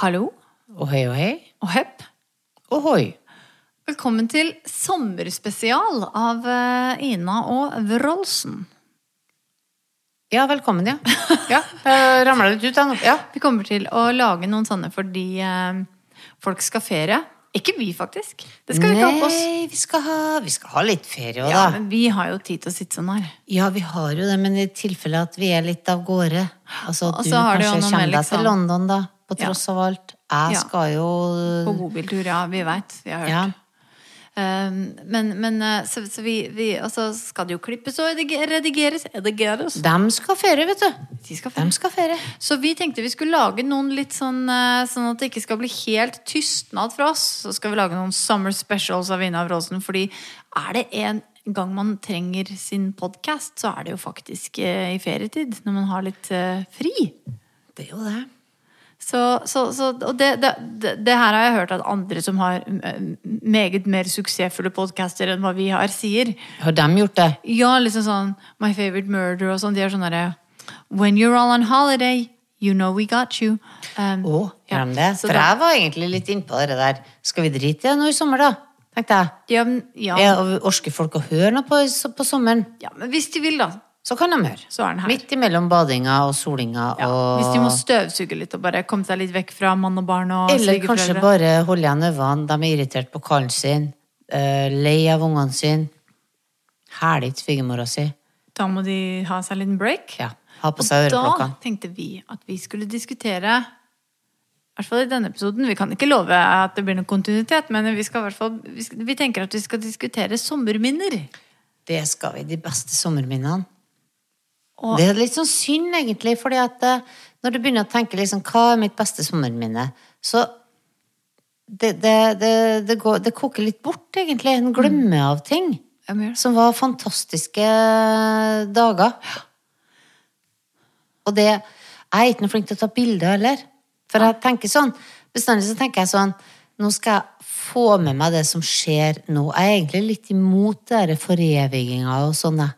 Hallo Ohei, ohei. og hepp. Ohoi. Velkommen til sommerspesial av eh, Ina og Wroldsen. Ja, velkommen, ja. Ja, jeg ramla litt ut, da. nå. Ja. Vi kommer til å lage noen sånne fordi eh, folk skal ferie. Ikke vi, faktisk. Det skal vi ikke ha på oss. Nei, vi skal ha, vi skal ha litt ferie òg, Ja, da. men vi har jo tid til å sitte sånn her. Ja, vi har jo det, men i tilfelle at vi er litt av gårde Altså at Og du så har du jo noe kanskje kommer med, deg liksom- til London, da. På Ja. tross av alt. Jeg Ja. skal jo På bobiltur, ja. Vi veit. Vi har hørt. Ja. Um, men men eh, så, så vi, vi Og så skal det jo klippes og redige- redigeres. Redigeres. Dem skal ferie, vet du. De skal Dem skal ferie. Så vi tenkte vi skulle lage noen litt sånn eh, Sånn at det ikke skal bli helt tystnad fra oss. Så skal vi lage noen summer specials av Ina Wroldsen. Fordi er det en gang man trenger sin podkast, så er det jo faktisk eh, i ferietid. Når man har litt eh, fri. Det er jo det. Så, så, så, og det, det, det, det her har jeg hørt at andre som har eh, meget mer suksessfulle podcaster enn hva vi har, sier. Har dem gjort det? Ja, liksom sånn My Favorite Murder og sånn. De er sånn derre When you're all on holiday, you know we got you. Um, Å, gjør de det? Så For da- jeg var egentlig litt innpå det der. Skal vi drite i det nå i sommer, da? Tenkte jeg. ja, men- ja, Ja, og orsker folk å høre noe på, på sommeren, ja, men hvis de vil, da. så kan de høre. Så er den her. Midt imellom badinga og solinga Ja, og Hvis de må støvsuge litt og bare komme seg litt vekk fra mann og barn og Eller kanskje svigerforeldre. bare holde igjen øynene. De er irritert på kallen sin, eh, lei av ungene sine. Hæler ikke svigermora si. Da må de ha seg en liten break. Ja, ha på seg og da øreklokkene. tenkte vi at vi skulle diskutere i hvert fall i denne episoden. Vi kan ikke love at det blir noen kontinuitet, men vi, skal i hvert fall, vi, skal, vi tenker at vi skal diskutere sommerminner. Det skal vi. De beste sommerminnene. Og- Det er litt sånn synd, egentlig, fordi at eh, når du begynner å tenke liksom, hva er mitt beste sommerminne, så det, det, det, det, går, det koker litt bort, egentlig. En glemmer Mm. av ting. Ja, men gjør det. Som var fantastiske dager. Og det Jeg er ikke noe flink til å ta bilder heller. For jeg tenker sånn Bestandig så tenker jeg sånn Nå skal jeg få med meg det som skjer nå. Jeg er egentlig litt imot det der foreviginga og sånn, jeg.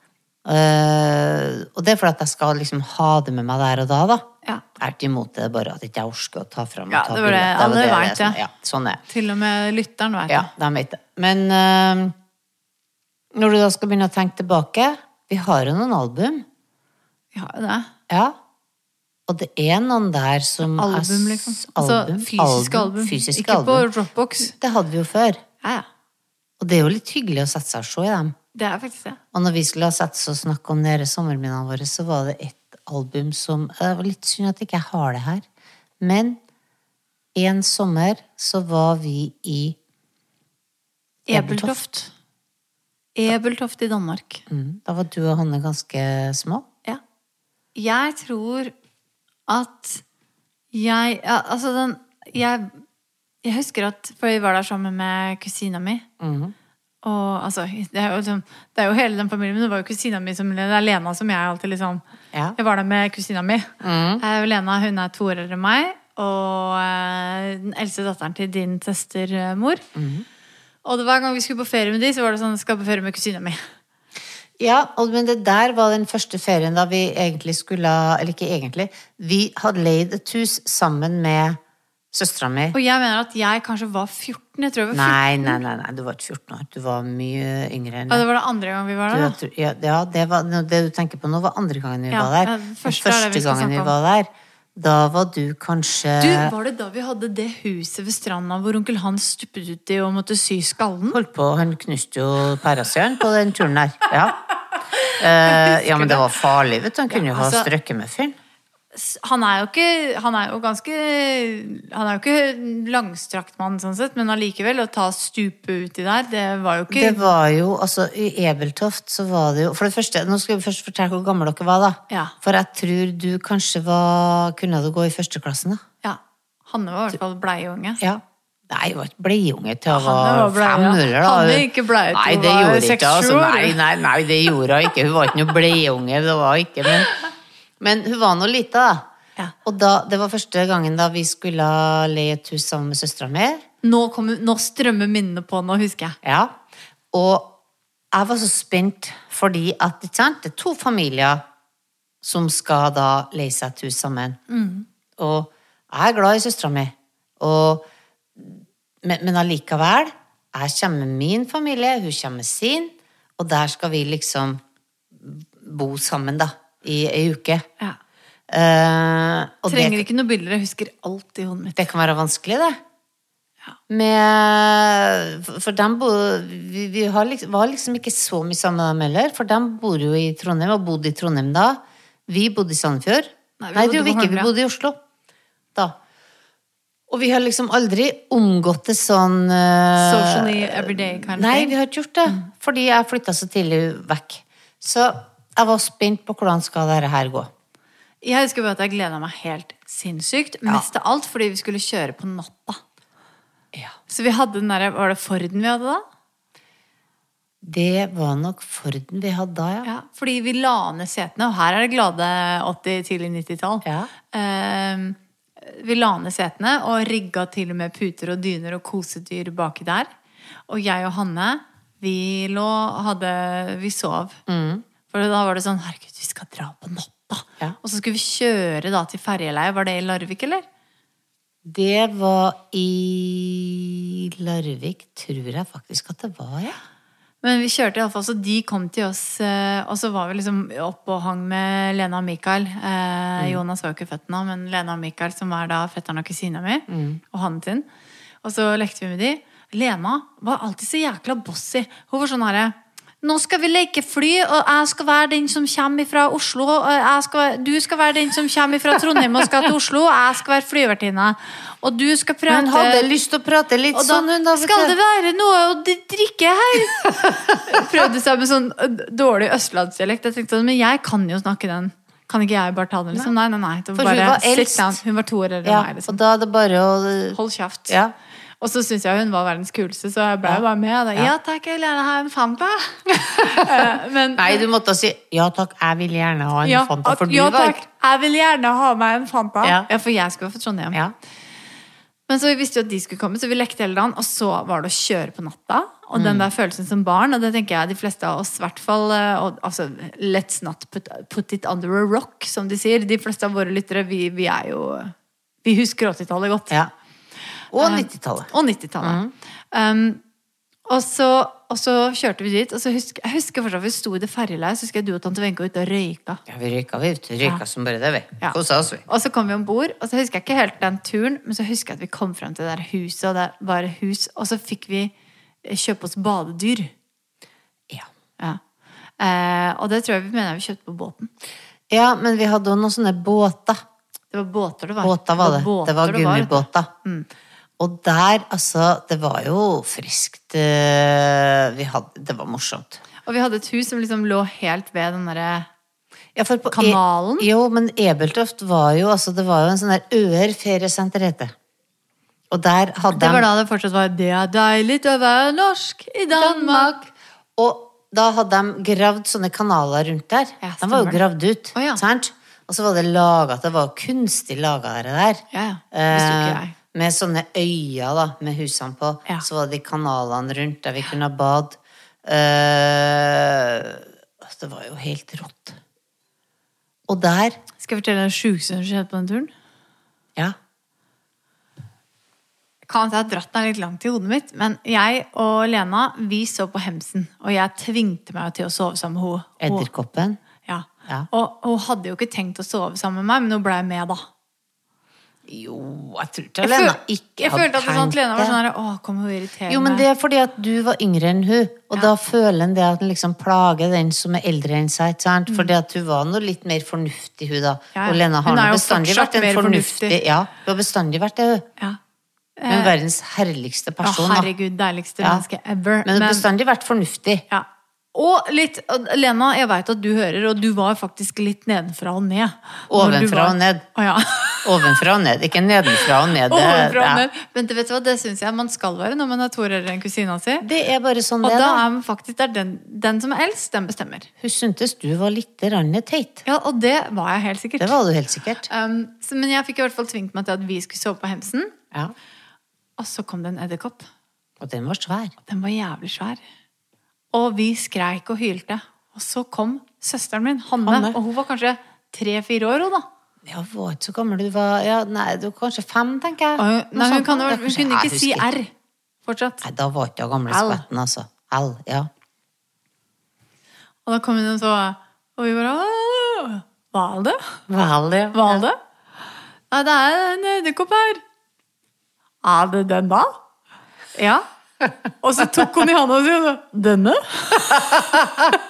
Eh, og det er fordi at jeg skal liksom ha det med meg der og da, da. Ja. Jeg er ikke imot det, det er bare at jeg ikke orker å ta fram og Ja, ta det var det. bilder. Alle var vet det. som- Ja, sånn er det. Til og med lytteren vet Ja, det. de vet det. Men eh, når du da skal begynne å tenke tilbake Vi har jo noen album. Vi har jo det. Ja. Og det er noen der som er Album, s- liksom. altså, Album, fysiske album. fysiske Ikke album. på Dropbox. Det hadde vi jo før. Ja, ja. Og det er jo litt hyggelig å sette seg og se i dem. Det er faktisk det. Og når vi skulle ha sett oss og snakke om dere sommerminnene våre, så var det et album som Det var litt synd at ikke jeg har det her. Men en sommer så var vi i Ebeltoft. Ebeltoft i Danmark. mm, Da var du og Hanne ganske små. Ja. Jeg tror at jeg ja, Altså, den jeg, jeg husker at For jeg var der sammen med kusina mi. Og altså det er, jo, liksom- det er jo hele den familien, men det var jo kusina mi som Det er Lena som jeg alltid liksom Ja. Jeg var der med kusina mi. Mm. Eh, Lena hun er to år eldre enn meg. Og eh, den eldste datteren til din søstermor. Mm. Og det, hver gang vi skulle på ferie med de, så var det sånn Skal på ferie med kusina mi. Ja, og, men det der var den første ferien da vi egentlig skulle ha- Eller ikke egentlig. Vi hadde leid et hus sammen med søstera mi. Og jeg mener at jeg kanskje var 14. Jeg tror jeg var 14. Nei, nei, nei, nei, du var ikke 14 år. Du var mye yngre enn Ja, det. det var det andre gang vi var der. Ja, da. tro- ja, ja, det, var, nå- det du tenker på nå, var andre gangen vi Ja, var der. ja, Den første Første, er det vi skal gangen vi snakke om. var der, da var du kanskje Du, Var det da vi hadde det huset ved stranda hvor onkel Hans stupet uti og måtte sy skallen? Holdt på, Han knuste jo pærasøren på den turen der. Ja. Eh, ja, men det var farlig, vet du. Han kunne jo ha altså- strøkket med fyren. S- Han er jo ikke Han er jo ganske Han er jo ikke langstrakt mann, sånn sett, men allikevel, å ta stupet uti der, det var jo ikke Det var jo, altså I Ebeltoft så var det jo For det første, nå skal vi først fortelle hvor gamle dere var, da. Ja. For jeg tror du kanskje var Kunne du gå i førsteklassen, da? Ja. Hanne var i hvert fall bleieunge. Ja. Nei, jeg var ikke bleiunge til Hanne jeg var var bleie, fem ja. år. da. Hanne gikk i bleie til Nei, hun det var gjorde seks, ikke, altså. sju år, Nei, du. nei, nei, det gjorde hun ikke. Hun var ikke noe bleieunge. det var ikke, Men, men hun var nå lita, da. Ja. Og da, det var første gangen da vi skulle leie et hus sammen med søstera mi. Nå, kommer- nå strømmer minnene på nå, husker jeg. Ja. Og jeg var så spent, fordi at ikke sant, det er to familier som skal da leie seg et hus sammen. Og jeg er glad i søstera mi, Og, men, men allikevel, jeg kommer med min familie, hun kommer med sin, og der skal vi liksom bo sammen, da, i ei uke. Ja. Eh, og det, Trenger ikke noe bilder. Jeg husker alt i hodet mitt. det kan være vanskelig, det. Ja. Med, for- for dem bo, vi, vi har liksom, var liksom ikke så mye sammen med dem heller, for dem bor jo i Trondheim, og bodde i Trondheim da. Vi bodde i Sandefjord. Nei, vi Nei, bodde det gjorde på vi ikke, vi Holmlia. bodde i Oslo. Da. Og vi har liksom aldri omgått det sånn eh, Socially everyday kind of Nei, thing. vi har ikke gjort det. Mm. Fordi jeg flytta så tidlig vekk. Så jeg var spent på hvordan skal dette her gå. Jeg husker bare at jeg gleda meg helt sinnssykt. Mest av alt fordi vi skulle kjøre på natta. Ja. Så vi hadde den der, Var det Forden vi hadde da? Det var nok Forden vi hadde da, ja. Ja, fordi vi la ned setene, og her er det glade 80-, tidlig 90-tall. Ja. Ehm, vi la ned setene og rigga til og med puter og dyner og kosedyr baki der. Og jeg og Hanne, vi lå hadde, Vi sov. For da var det sånn Herregud, vi skal dra på natta! Mm. Ja. Og så skulle vi kjøre da til ferjeleiet. Var det i Larvik, eller? Det var i Larvik, tror jeg faktisk at det var, ja. Men vi kjørte iallfall, så de kom til oss. eh, Og så var vi liksom oppe og hang med Lena og Mikael. Eh, Jonas var jo ikke født nå, men Lena og Mikael, som var da fetteren og kusina mi, og han sin. Og så lekte vi med de. Lena var alltid så jækla bossy. Hun var sånn herre nå skal vi leke fly, og jeg skal være den som kommer fra Oslo. Og jeg skal, være- du skal være den som kommer fra Trondheim og skal til Oslo. Og jeg skal være flyvertinne. Og du skal prate Hun hadde lyst til å prate litt og da, sånn, hun da. vet skal du. det være noe å d- drikke her? Prøvde seg med sånn ø, dårlig østlandsdialekt. Jeg tenkte sånn, men jeg kan jo snakke den. Kan ikke jeg bare ta den? liksom? Nei, nei, nei. Det For var hun bare, var sit eldst. down. Hun var to år eldre Ja, enn meg. og liksom. da er det bare å Hold kjeft. Ja. Og så syntes jeg hun var verdens kuleste, så jeg ble jo bare med. og Da. Ja takk, jeg vil gjerne ha en Fanta. Eh, men, Nei, du måtte si 'ja takk, jeg vil gjerne ha en ja, Fanta', for at- du ja, var takk. Jeg vil gjerne ha meg en Fanta. Ja. Ja, for jeg skulle være fra Trondheim. ja. Men så vi visste jo at de skulle komme, så vi lekte hele dagen. Og så var det å kjøre på natta. Og Mm. den der følelsen som barn, og det tenker jeg de fleste av oss i hvert fall eh, og, altså, Let's not put, put it under a rock, som de sier. De fleste av våre lyttere, vi, vi er jo Vi husker 80-tallet godt. Eh, ja. Og Mm. 90-tallet. Og 90-tallet. Um, og, så, og så kjørte vi dit, og så husker jeg husker fortsatt vi sto i det ferjeleiet, så husker jeg du og tante Wenche var ute og røyka. Ja, vi røyka, vi. vet du. Røyka som bare det, vi. Ja. Kosa oss, vi. Og så kom vi om bord, og så husker jeg ikke helt den turen, men så husker jeg at vi kom frem til det der huset, og det var hus, og så fikk vi eh, kjøpe oss badedyr. Ja. Ja. Eh, og det tror jeg vi mener vi kjøpte på båten. ja, men vi hadde også noen sånne båter. Det var båter det var. Mm. Båter var det. Det var båter gummibåter. Og der, altså Det var jo friskt eh, vi hadde, Det var morsomt. Og vi hadde et hus som liksom lå helt ved den derre Ja, for på E- Kanalen? jo, men Ebeltoft var jo altså Det var jo en sånn der Øer feriesenter, heter det. Og der hadde Det var de- da det fortsatt var 'Det er deilig å være norsk i Danmark'. Og da hadde de gravd sånne kanaler rundt der. Ja, de var jo stemmer det. gravd ut. Å, ja. sant? Og så var det laget, det var kunstig laga det der. Ja, ja. Visste jo Eh, ikke jeg. med sånne øyer da, med husene på. Ja. Så var det de kanalene rundt der vi kunne ha bad. Eh, det var jo helt rått. Og der Skal jeg fortelle deg det sjukeste som skjedde på den turen? Ja. kan hende jeg har dratt den litt langt i hodet mitt, men jeg og Lena vi så på Hemsen, og jeg tvingte meg til å sove sammen med henne. Hun- Edderkoppen. Ja. Ja. Og hun hadde jo ikke tenkt å sove sammen med meg, men hun blei med, da. Jo, jeg tror ikke Jeg, Lena føl- ikke jeg følte at det var sånn at Lena var det. sånn her, Å, kommer hun irriterende? Jo, men det er fordi at du var yngre enn hun, og da føler en det at en liksom plager den som er eldre enn seg, ikke sant? Fordi at hun var nå litt mer fornuftig, hun da. Mm. Ja, ja. Og Lena Hun har nå er jo bestandig fortsatt vært en mer fornuftig, fornuftig. Ja, hun har bestandig vært det, hun. ja. Hun er verdens herligste Å, person, da. Eh, herregud, deiligste Ja. menneske ever. Men hun har bestandig vært fornuftig. ja. Og litt og Lena, jeg veit at du hører, og du var faktisk litt nedenfra og ned. når du Ovenfra var- og ned. Å, ja. Ovenfra og ned, ikke nedenfra og ned. det- Ovenfra og ja. ned. Men det, vet du hva, det syns jeg man skal være når man er to år eldre enn kusina si. Det er bare sånn Og det, da da. er man faktisk det er den, den som er eldst, den bestemmer. Hun syntes du var litt rann teit. Ja, og det var jeg helt Det sikkert. var du helt sikkert. Um, så, men jeg fikk i hvert fall tvingt meg til at vi skulle sove på Hemsen. Ja. Og så kom det en edderkopp. Og den var svær. Den var jævlig svær. Og vi skreik og hylte. Og så kom søsteren min, Hanne, Hanne. og hun var kanskje tre-fire år, hun da. Ja, hun var ikke så gammel. Du var ja, nei, du var kanskje fem, tenker jeg. Og hun, nei, Noe hun, sånt. kan, jo- Ja, hun kanskje- kunne Nei, ikke si jeg husker R fortsatt. Nei, da var ikke hun gamle L. skvetten, altså. L, ja. Og da kom hun og så Og vi bare «Åh, Hva er det? Vel, ja. Hva er det? Nei, det er en edderkopp her. Er det den, da? Ja. Og så tok hun i hånda si og sa 'Denne?'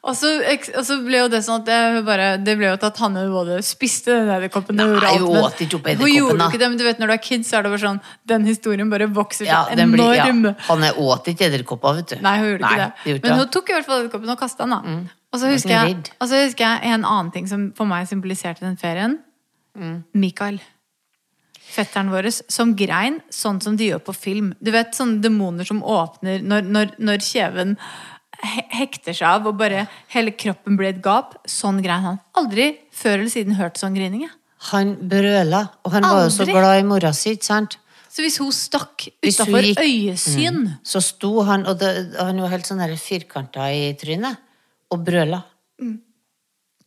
og, så, eks- og så ble jo det sånn at jeg, hun bare, det ble jo til at Hanne både spiste den edderkoppen og Nei, gjorde alt, hun men åt ikke opp Hun edderkoppen, gjorde da. jo ikke det, men du vet når du er kid, så er det bare sånn Den historien bare vokser Ja, til den enorm blir, ja. Han er åt ikke edderkopper, vet du. Nei, hun gjorde Nei, ikke det. gjorde Men ikke hun tok i hvert fall edderkoppen og kasta den. da. Og, så Det var husker sånn jeg, ridd. og så husker jeg en annen ting som for meg symboliserte den ferien. Mm. Mikael. Fetteren vår som grein sånn som de gjør på film. Du vet sånne demoner som åpner når, når, når kjeven he- hekter seg av og bare hele kroppen blir et gap. Sånn grein han. Aldri før eller siden hørt sånn grining. jeg. Han brøla, og han var jo så Aldri. glad i mora si, ikke sant? Så hvis hun stakk Hvis hun utafor gikk- Mm. øyesyn Så sto han, og det, han var helt sånn her firkanta i trynet, og brøla.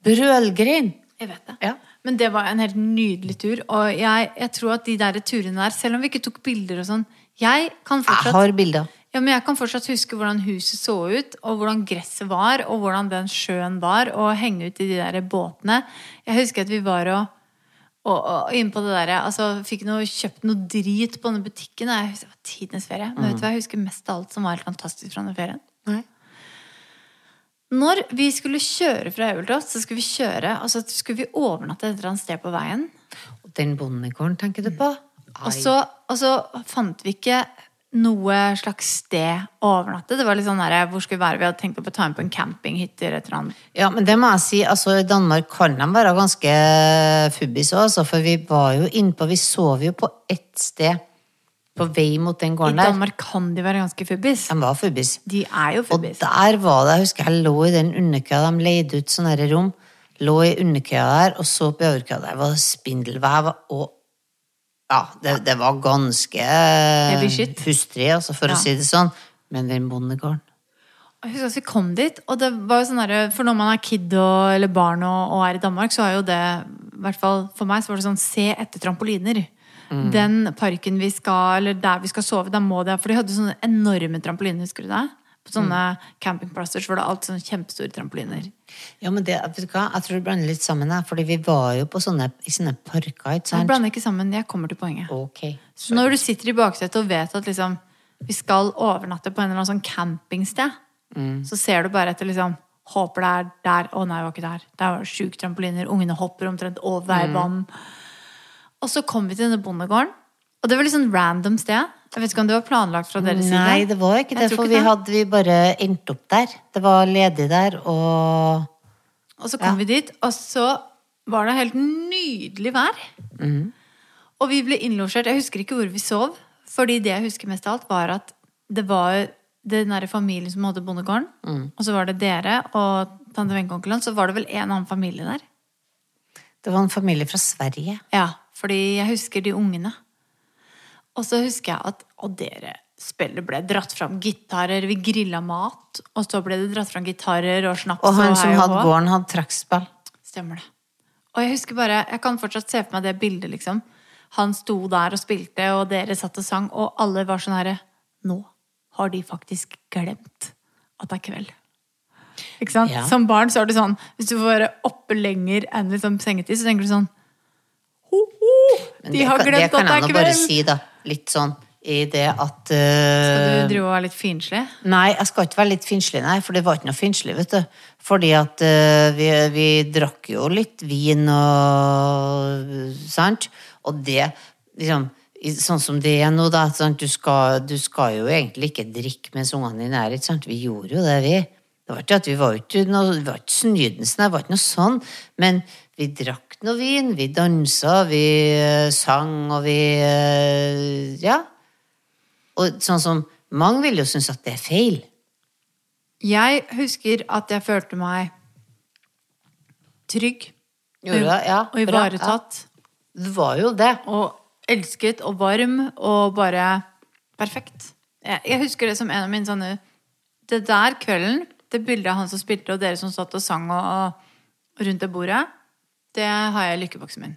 Brølgrin! Jeg vet det. Ja. Men det var en helt nydelig tur. Og jeg, jeg tror at de der turene der, selv om vi ikke tok bilder og sånn Jeg kan Jeg fortsatt, har bilder. ja, men jeg kan fortsatt huske hvordan huset så ut, og hvordan gresset var, og hvordan den sjøen var, og henge ut i de der båtene. Jeg husker at vi var og og, og inn på det der, altså fikk noe, kjøpt noe drit på denne butikken. og Jeg husker, det var tidenes ferie. Men Mm. vet du hva jeg husker mest av alt som var helt fantastisk fra den ferien? Nei. Når vi skulle kjøre fra Eultoft, så skulle vi kjøre, og så skulle vi overnatte et eller annet sted på veien. Og Den bondegården tenker du på? Altså, Ai. Og så, og så fant vi ikke noe slags sted å overnatte. Det var litt sånn der, hvor skulle vi være? Vi hadde tenkt å ta inn på en campinghytte eller et eller annet. Ja, men det må jeg si, altså i Danmark kan de være ganske fubbis også, altså, for vi var jo innpå, vi sov jo på ett sted på vei mot den I gården der. Danmark kan de være ganske fubbis. De var fubbis. De er jo Og fubbis. der var det, jeg husker jeg lå i den underkøya, de leide ut sånne her rom, lå i underkøya der, og så på overkøya der var det spindelvev, og ja, det, det var ganske Heavy shit. hustrig, altså, for Ja. å si det sånn. Men den bondegården, Og Jeg husker at vi kom dit, og det var jo sånn der, for når man er kid og, eller barn og, og er i Danmark, så er jo det, i hvert fall for meg, så var det sånn, se etter trampoliner. Mm. Den parken vi skal, eller der vi skal sove, der må det, for de hadde sånne enorme trampoliner, husker du det? På sånne Mm. campingplasser, så var det alltid sånne kjempestore trampoliner. Ja, men det, vet du hva, jeg tror det blander litt sammen her, fordi vi var jo på sånne, i sånne parker, ikke Jeg sant? blander ikke sammen, jeg kommer til poenget. Ok. Så når du sitter i baksetet og vet at liksom, vi skal overnatte på en eller annen sånn campingsted, Mm. så ser du bare etter liksom Håper det er der. Å nei, det var ikke der. Der var det sjukt trampoliner. Ungene hopper omtrent over Mm. veibanen. Og så kom vi til denne bondegården. Og det var litt sånn random sted. Jeg vet ikke om det var planlagt fra deres side. Nei, det var Jeg ikke det, tror for ikke vi det. hadde vi bare endt opp der. Det var ledig der, og... Og så kom vi dit, og så var det helt nydelig vær. Mhm. Og vi ble innlosjert. Jeg husker ikke hvor vi sov. Fordi det jeg husker mest av alt, var at det var den derre familien som hadde bondegården. Mhm. Og så var det dere og tante Wenche og onkel Hans. Så var det vel en annen familie der. Det var en familie fra Sverige. Ja, fordi jeg husker de ungene. Og så husker jeg at Og dere spillet ble dratt fram gitarer. Vi grilla mat, og så ble det dratt fram gitarer og snaps. Og han som hei og hadde hå. gården, hadde trekkspill. Stemmer det. Og jeg husker bare, jeg kan fortsatt se for meg det bildet, liksom. Han sto der og spilte, og dere satt og sang, og alle var sånn herre Nå har de faktisk glemt at det er kveld. Ikke sant? Ja. Som barn så er du sånn Hvis du får være oppe lenger enn liksom sengetid, så tenker du sånn ho, ho, Men De det har kan- glemt at det er Det kan jeg nå bare kveld! si, da. Litt sånn i det at Du eh, driver og er litt fiendtlig. Nei, jeg skal ikke være litt finslig, nei, for det var ikke noe finslig, vet du. Fordi at eh, vi, vi drakk jo litt vin og Sant? Og det liksom i- Sånn som det er nå, da. Sant? Du, skal, du skal jo egentlig ikke drikke mens ungene dine er her, ikke sant? Vi gjorde jo det, vi. Det var ikke at vi var ikke noe, vi var ikke snydensne, det var ikke noe sånn. Men vi drakk noe vin, vi dansa, vi eh, sang, og vi eh, Ja. Og sånn som mange vil jo synes at det er feil. Jeg husker at jeg følte meg trygg Gjorde du det? Ja, og bra, ivaretatt. Det var jo det. og elsket og varm og bare perfekt. Jeg, jeg husker det som en av mine sånne Det der kvelden, det bildet av han som spilte og dere som satt og sang og, og rundt det bordet, Det har jeg i lykkeboksen min.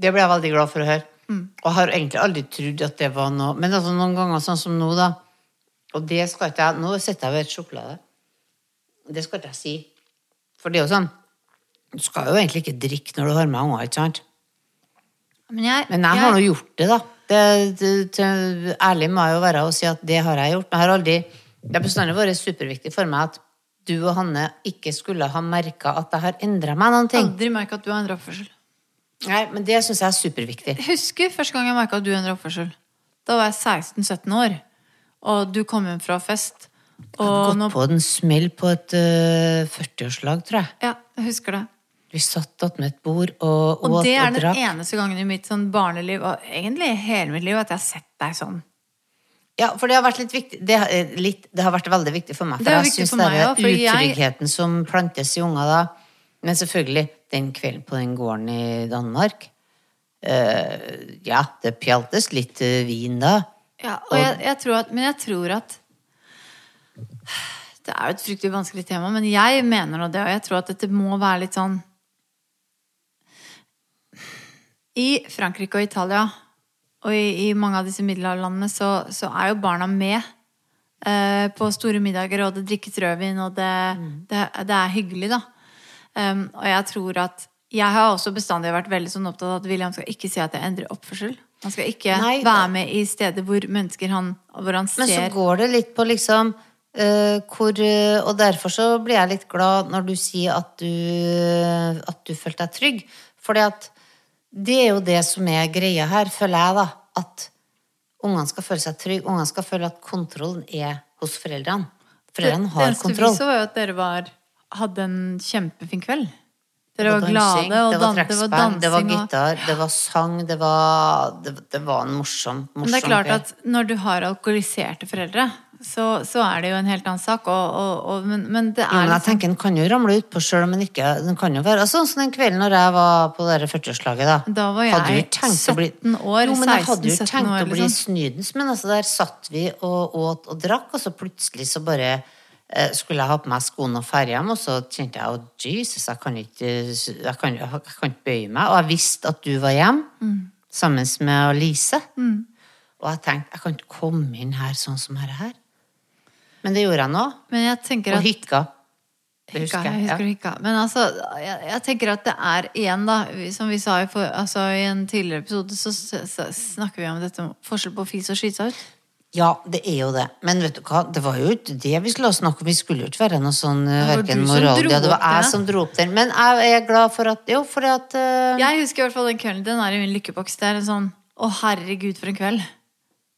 Det ble jeg veldig glad for å høre. Og har egentlig aldri trodd at det var noe Men altså noen ganger sånn som nå, da. Og det skal ikke jeg Nå sitter jeg ved et sjokolade. Det skal ikke jeg si. For det er jo sånn Du skal jo egentlig ikke drikke når du har med unger, ikke sant? Men jeg, Men jeg har nå gjort det, da. Det, det, det, ærlig må jeg jo være og si at det har jeg gjort. Men jeg har aldri, det har bestandig vært superviktig for meg at du og Hanne ikke skulle ha merka at jeg har endra meg noen ting. aldri merka at du har endra oppførsel. Nei, men det syns jeg er superviktig. Jeg husker første gang jeg merka at du endra oppførsel. Da var jeg 16-17 år, og du kom hjem fra fest. Og Gått nå, på den smell på et øh, 40-årslag, tror jeg. ja, jeg husker det. Vi satt attmed et bord og åt Og og, det er den drakk. eneste gangen i mitt sånn barneliv, og egentlig i hele mitt liv, at jeg har sett deg sånn. Ja, for det har vært litt viktig det, har- eh, litt, det har vært veldig viktig for meg. For Det er jeg viktig syns for den meg også, for jeg- utryggheten som plantes i unger da Men selvfølgelig, den kvelden på den gården i Danmark eh, Ja, det pjaltes litt eh, vin da. Ja, og jeg, jeg tror at, men jeg tror at Det er jo et fryktelig vanskelig tema, men jeg mener nå det, og jeg tror at dette må være litt sånn I Frankrike og Italia og i, i mange av disse middelalderlandene så, så er jo barna med eh, på store middager, og det drikkes rødvin, og det, det, det er hyggelig, da. Um, og jeg tror at jeg har også bestandig vært veldig sånn opptatt av at William skal ikke si at jeg endrer oppførsel. Han skal ikke Nei, være med i steder hvor mennesker han, hvor han Men så ser går det litt på liksom eh, hvor, eh, og derfor så blir jeg litt glad når du sier at du, eh, at du følte deg trygg. Fordi at det er jo det som er greia her, føler jeg, da. At ungene skal føle seg trygge. Ungene skal føle at kontrollen er hos foreldrene. Foreldrene Det har eneste vi kontroll. så, var jo at dere var, hadde en kjempefin kveld. Dere var Det glade, og dansing, det var dan- det var trekkspill, dansing. det var og- gitar, det var sang, det var Det, det var en morsom, morsom Men det er klart kveld. at når du har alkoholiserte foreldre, så, så er det jo en helt annen sak. Og, og, og, men, men det Jo, er men jeg liksom tenker den kan jo ramle utpå sjøl, men ikke den kan jo være altså, Sånn som den kvelden når jeg var på det der 40-årslaget, da. Da var jeg Hadde jo tenkt å bli- 17 år, Jo, men jeg hadde jo 16-17 tenkt år, å bli liksom. snydens, men altså, der satt vi og åt og drakk, og så plutselig så bare eh, skulle jeg ha på meg skoene og ferja hjem, og så kjente jeg at Jesus, jeg kan ikke jeg kan, jeg kan ikke bøye meg. Og jeg visste at du var hjemme Mm. sammen med Lise. Og jeg tenkte jeg kan ikke komme inn her sånn som her. her. Men det gjorde jeg nå. Men jeg tenker Og at hikka. Hikka, Det husker jeg jeg. ja. husker hikka. Men altså, jeg, jeg tenker at det er igjen, da, vi- som vi sa i, for, altså, i en tidligere episode, så, s- s- snakker vi om dette om forskjell på fis og skitsaut. Ja, det er jo det. Men vet du hva, det var jo ikke det vi skulle snakke om. Vi skulle jo ikke være noe sånn eh, var hverken du som moral dro ja, Det var opp det. jeg som dro opp den. Men jeg er glad for at Jo, fordi at eh, Jeg husker i hvert fall den kvelden. Den er i min lykkeboks. Det er en sånn Å, herregud, for en kveld.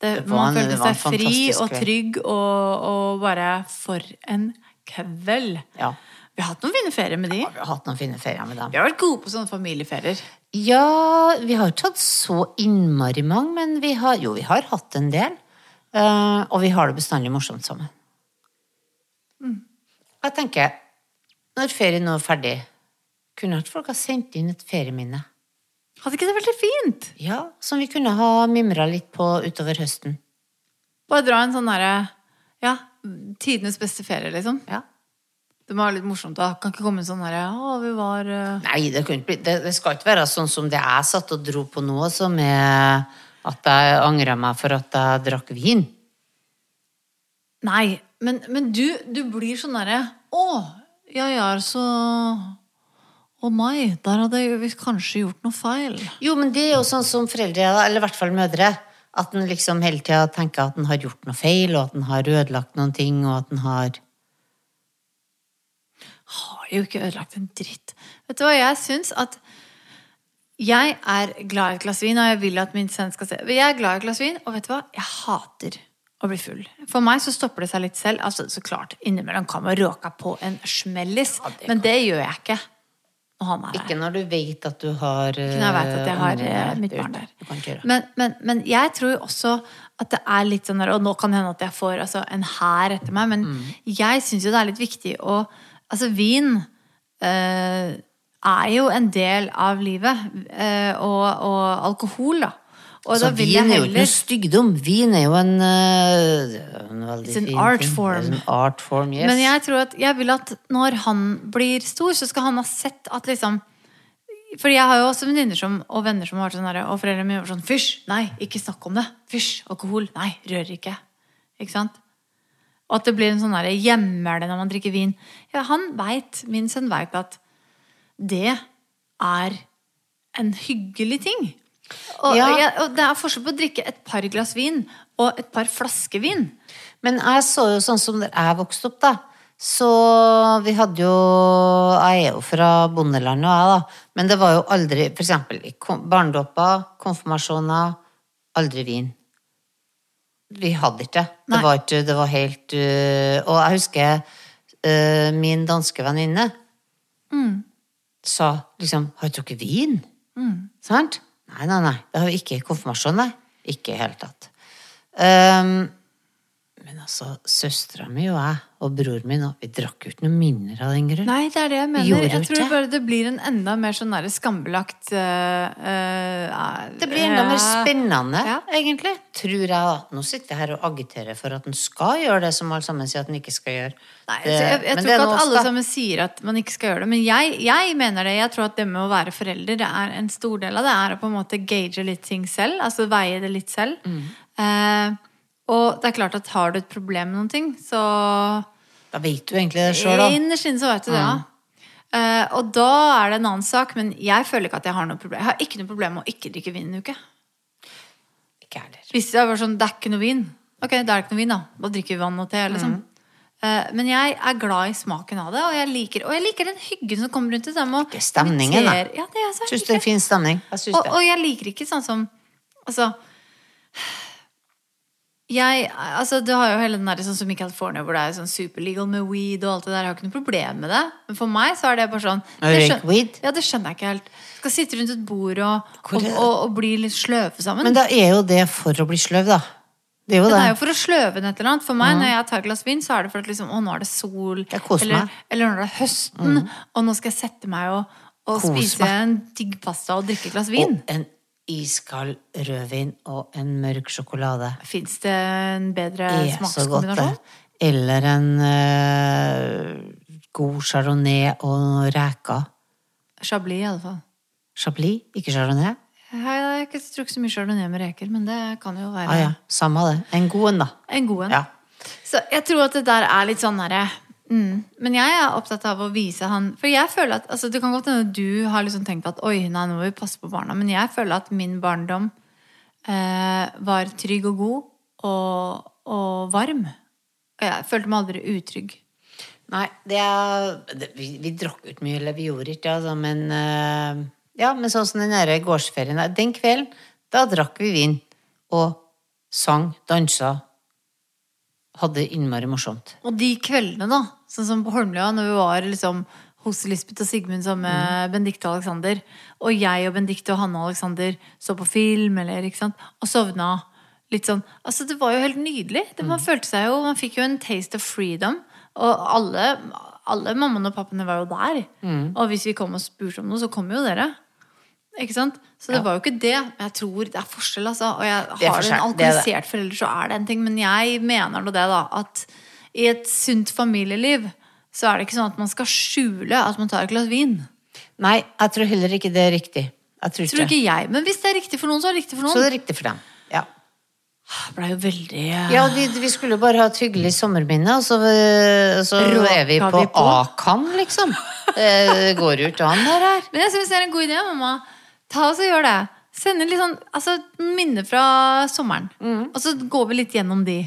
Det, Det var man en- følte det var en seg fri fantastisk og kveld. trygg og, og bare For en kveld! Ja. Vi har hatt noen fine ferier med de. Vi har hatt noen fine ferier med dem. Vi har vært gode på sånne familieferier. Ja, vi har ikke hatt så innmari mange, men vi har Jo, vi har hatt en del. Eh, og vi har det bestandig morsomt sammen. Mm. Jeg tenker, når ferien nå er ferdig, kunne ikke folk ha sendt inn et ferieminne? Hadde ikke det vært litt fint? Ja, som vi kunne ha mimra litt på utover høsten. Bare dra en sånn derre Ja, tidenes beste ferie, liksom. Ja. Det må være litt morsomt. da. Kan ikke komme en sånn derre Å, vi var eh, Nei, det, kunne ikke bli, det, det skal ikke være sånn som det jeg satt og dro på nå, altså med at jeg angra meg for at jeg drakk vin. Nei. Men, men du, du blir sånn derre Å, jeg er så Å nei, der hadde vi kanskje gjort noe feil. Jo, men det er jo sånn som foreldre, er, da, eller i hvert fall mødre, at en liksom hele tida tenker at en har gjort noe feil, og at en har ødelagt noen ting, og at en har har jo ikke ødelagt en dritt. Vet du hva, jeg syns at jeg er glad i et glass vin, og jeg vil at min sønn skal se Men Jeg er glad i et glass vin, og vet du hva, jeg hater å bli full. For meg så stopper det seg litt selv. Altså, så klart, innimellom kan man råke på en smellis, men det gjør jeg ikke når han er her. Ikke når du vet at du har Ikke når jeg vet at jeg har ungene eh, mitt barn ute. der. Du kan ikke gjøre det. Men, men, men jeg tror jo også at det er litt sånn der Og nå kan det hende at jeg får altså, en hær etter meg, men Mm. jeg syns jo det er litt viktig å Altså, vin eh, er jo en del av livet. eh, og, og alkohol, da. Og Så da vil jeg vin er jo ikke noe heller stygdom. Vin er jo en, øh, en veldig It's an fin art ting. form. It's an art form, yes. Men jeg tror at jeg vil at når han blir stor, så skal han ha sett at liksom For jeg har jo også venninner som, og venner som har vært sånn der, og foreldrene mine var sånn Fysj! Nei, ikke snakk om det! Fysj! Alkohol! Nei, rør ikke! Ikke sant? Og at det blir en sånn derre gjemmer det når man drikker vin. Ja, han veit, min sønn veit at det er en hyggelig ting. Og, Ja. jeg, og det er forskjell på å drikke et par glass vin og et par flasker vin. Men jeg så jo sånn som der jeg vokste opp, da. Så vi hadde jo Jeg er jo fra bondelandet, og jeg, da. Men det var jo aldri For eksempel i kom- barnedåper, konfirmasjoner, aldri vin. Vi hadde ikke det. Nei. Det var, ikke, det var helt øh, Og jeg husker øh, min danske venninne Mm. sa liksom 'Har du drukket vin?' Mm. Sant? Nei, nei, nei. Det har vi ikke i konfirmasjon, nei. Ikke i hele tatt. Ehm, men altså, søstera mi og jeg, og bror min, og vi drakk jo ikke noe mindre av den grunn. Nei, det er det jeg mener. Gjorde jeg du tror ikke? bare det blir en enda mer sånn der skambelagt eh, eh, Det blir enda mer ja. spennende, Ja. egentlig. Tror jeg, da. Nå sitter jeg her og agiterer for at en skal gjøre det som alle sammen sier at en ikke skal gjøre. Nei, Det- altså, jeg, jeg men tror det er ikke nå at oss, alle da. sammen sier at man ikke skal gjøre det, men jeg, jeg mener det. Jeg tror at det med å være forelder, det er en stor del av det, er å på en måte gage litt ting selv. Altså veie det litt selv. Mm. Eh, og det er klart at har du et problem med noen ting, så Da vet du egentlig det sjøl, da. Mm. Innerst inne så vet du det, ja. Eh, og da er det en annen sak, men jeg føler ikke at jeg har noe problem. Jeg har ikke noe problem med å ikke drikke vin en uke. Ikke jeg heller. Hvis det var sånn, det er ikke noe vin Ok, da er det ikke noe vin da Da drikker vi vann og te liksom. Mhm. Eh, Men jeg er glad i smaken av det Og jeg liker, og jeg liker den hyggen som kommer rundt det samme og Det er stemningen, da. inviterer- Ja, det er så Syns det er hyggelig. fin stemning. Jeg syns og, det. og jeg liker ikke sånn som Altså jeg, altså, du har jo hele den der sånn som i California hvor det er sånn superlegal med weed og alt det der. Jeg har ikke noe problem med det. Men for meg så er det bare sånn Å det røyke weed? Ja, det skjønner jeg ikke helt. Skal sitte rundt et bord og, Hvor og, er- og, og bli litt sløve sammen. Men da er jo det for å bli sløv, da. Det er jo Det det. er jo for å sløve den et eller annet. For meg, når jeg tar et glass vin, så er det for at liksom, å, nå er det sol. Jeg koser meg. Mm. eller, eller nå er det høsten, og nå skal jeg sette meg og, og Kose spise meg. en digg pasta og drikke et glass vin. Og en iskald rødvin og en mørk sjokolade. Fins det en bedre Det er så godt, det. smakskombinasjon? Eller en eh, god chardonnay og noen reker. Chablis, i alle fall. Chablis, ikke chardonnay. Jeg har ikke drukket så mye chardonnay med reker, men det kan jo være Ah, ja. Samme det. En god en, da. en god en. Ja. Så jeg tror at det der er litt sånn derre mm. Men jeg er opptatt av å vise han For jeg føler at altså, Det kan godt hende du har liksom tenkt at Oi, nei, nå må vi passe på barna. Men jeg føler at min barndom eh, var trygg og god og, og varm. Og jeg følte meg aldri utrygg. Nei, det er det, Vi, vi drakk ut mye, eller vi gjorde ikke, altså, men eh, Ja, men sånn som den der gårdsferien der, Den kvelden, da drakk vi vin. Og sang, dansa. Hadde innmari morsomt. Og de kveldene, da, sånn som på Holmlia, når vi var liksom hos Lisbeth og Sigmund sammen med Benedicte og Alexander, og jeg og Benedicte og Hanne og Alexander så på film, eller ikke sant, og sovna litt sånn Altså, det var jo helt nydelig. Det, man følte seg jo Man fikk jo en taste of freedom. Og alle, alle mammaene og pappaene var jo der. Og hvis vi kom og spurte om noe, så kom jo dere. Ikke sant? Så det var jo ikke det. Men jeg tror det er forskjell, altså. Og Det jeg er har en forskjell, det er det. alkoholisert forelder, så er det en ting. Men jeg mener nå det, da, at i et sunt familieliv så er det ikke sånn at man skal skjule at man tar et glass vin. Nei, jeg tror heller ikke det er riktig. Jeg tror, Tror ikke. ikke jeg. Men hvis det er riktig for noen, så er det riktig for Så noen. det er riktig for dem. Ja. Det ble jo veldig Ja, og de, vi skulle bare ha et hyggelig sommerminne, og så, øh, så Råka er vi på, vi på. Akan, liksom. Det går jo ikke an, det her. Men jeg syns det er en god idé, mamma. Ta oss og gjør det. Send inn litt sånn altså, minner fra sommeren. Mm. Og så går vi litt gjennom de.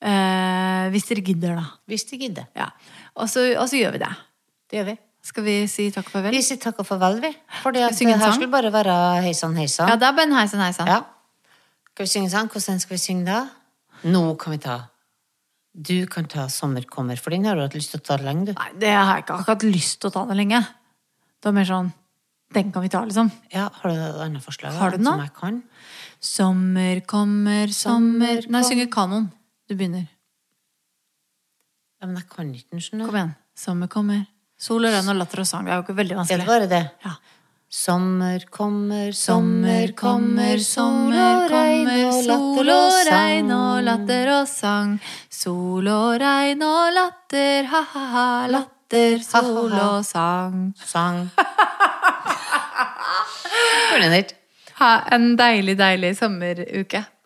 Eh, hvis dere gidder, da. Hvis de gidder. Ja. Og, så, og så gjør vi det. Det gjør vi. Skal vi si takk og farvel? Vi sier takk og farvel, vi. Fordi at Skal vi synge en det her sang? skulle bare være hei sann, hei Ja, sann. det er bare en heisan, heisan. Ja. Skal vi synge en sang? Hvordan skal vi synge da? Nå kan vi ta Du kan ta 'Sommer kommer', for den har du hatt lyst til å ta lenge, du. Nei, det har jeg ikke akkurat lyst til å ta det lenge. Det var mer sånn Den kan vi ta, liksom. Ja, Har du et annet forslag? Har du annet Som noe? jeg kan? Sommer kommer, sommer Sommer Nei, kom- synger kanon. Du begynner. Ja, men jeg kan ikke den, skjønner du. Kom igjen. Sommer kommer. Sol og rønn og latter og sang. Det er jo ikke veldig Er det vanskelig. bare det? Ja. Sommer kommer, Sommer kommer, sommer kommer, sol og regn og latter og sang. Sol og regn og latter, ha-ha-ha, latter, sol Ha, ha, ha. og sang. sang. Hvordan er det? Ha en deilig, deilig sommeruke.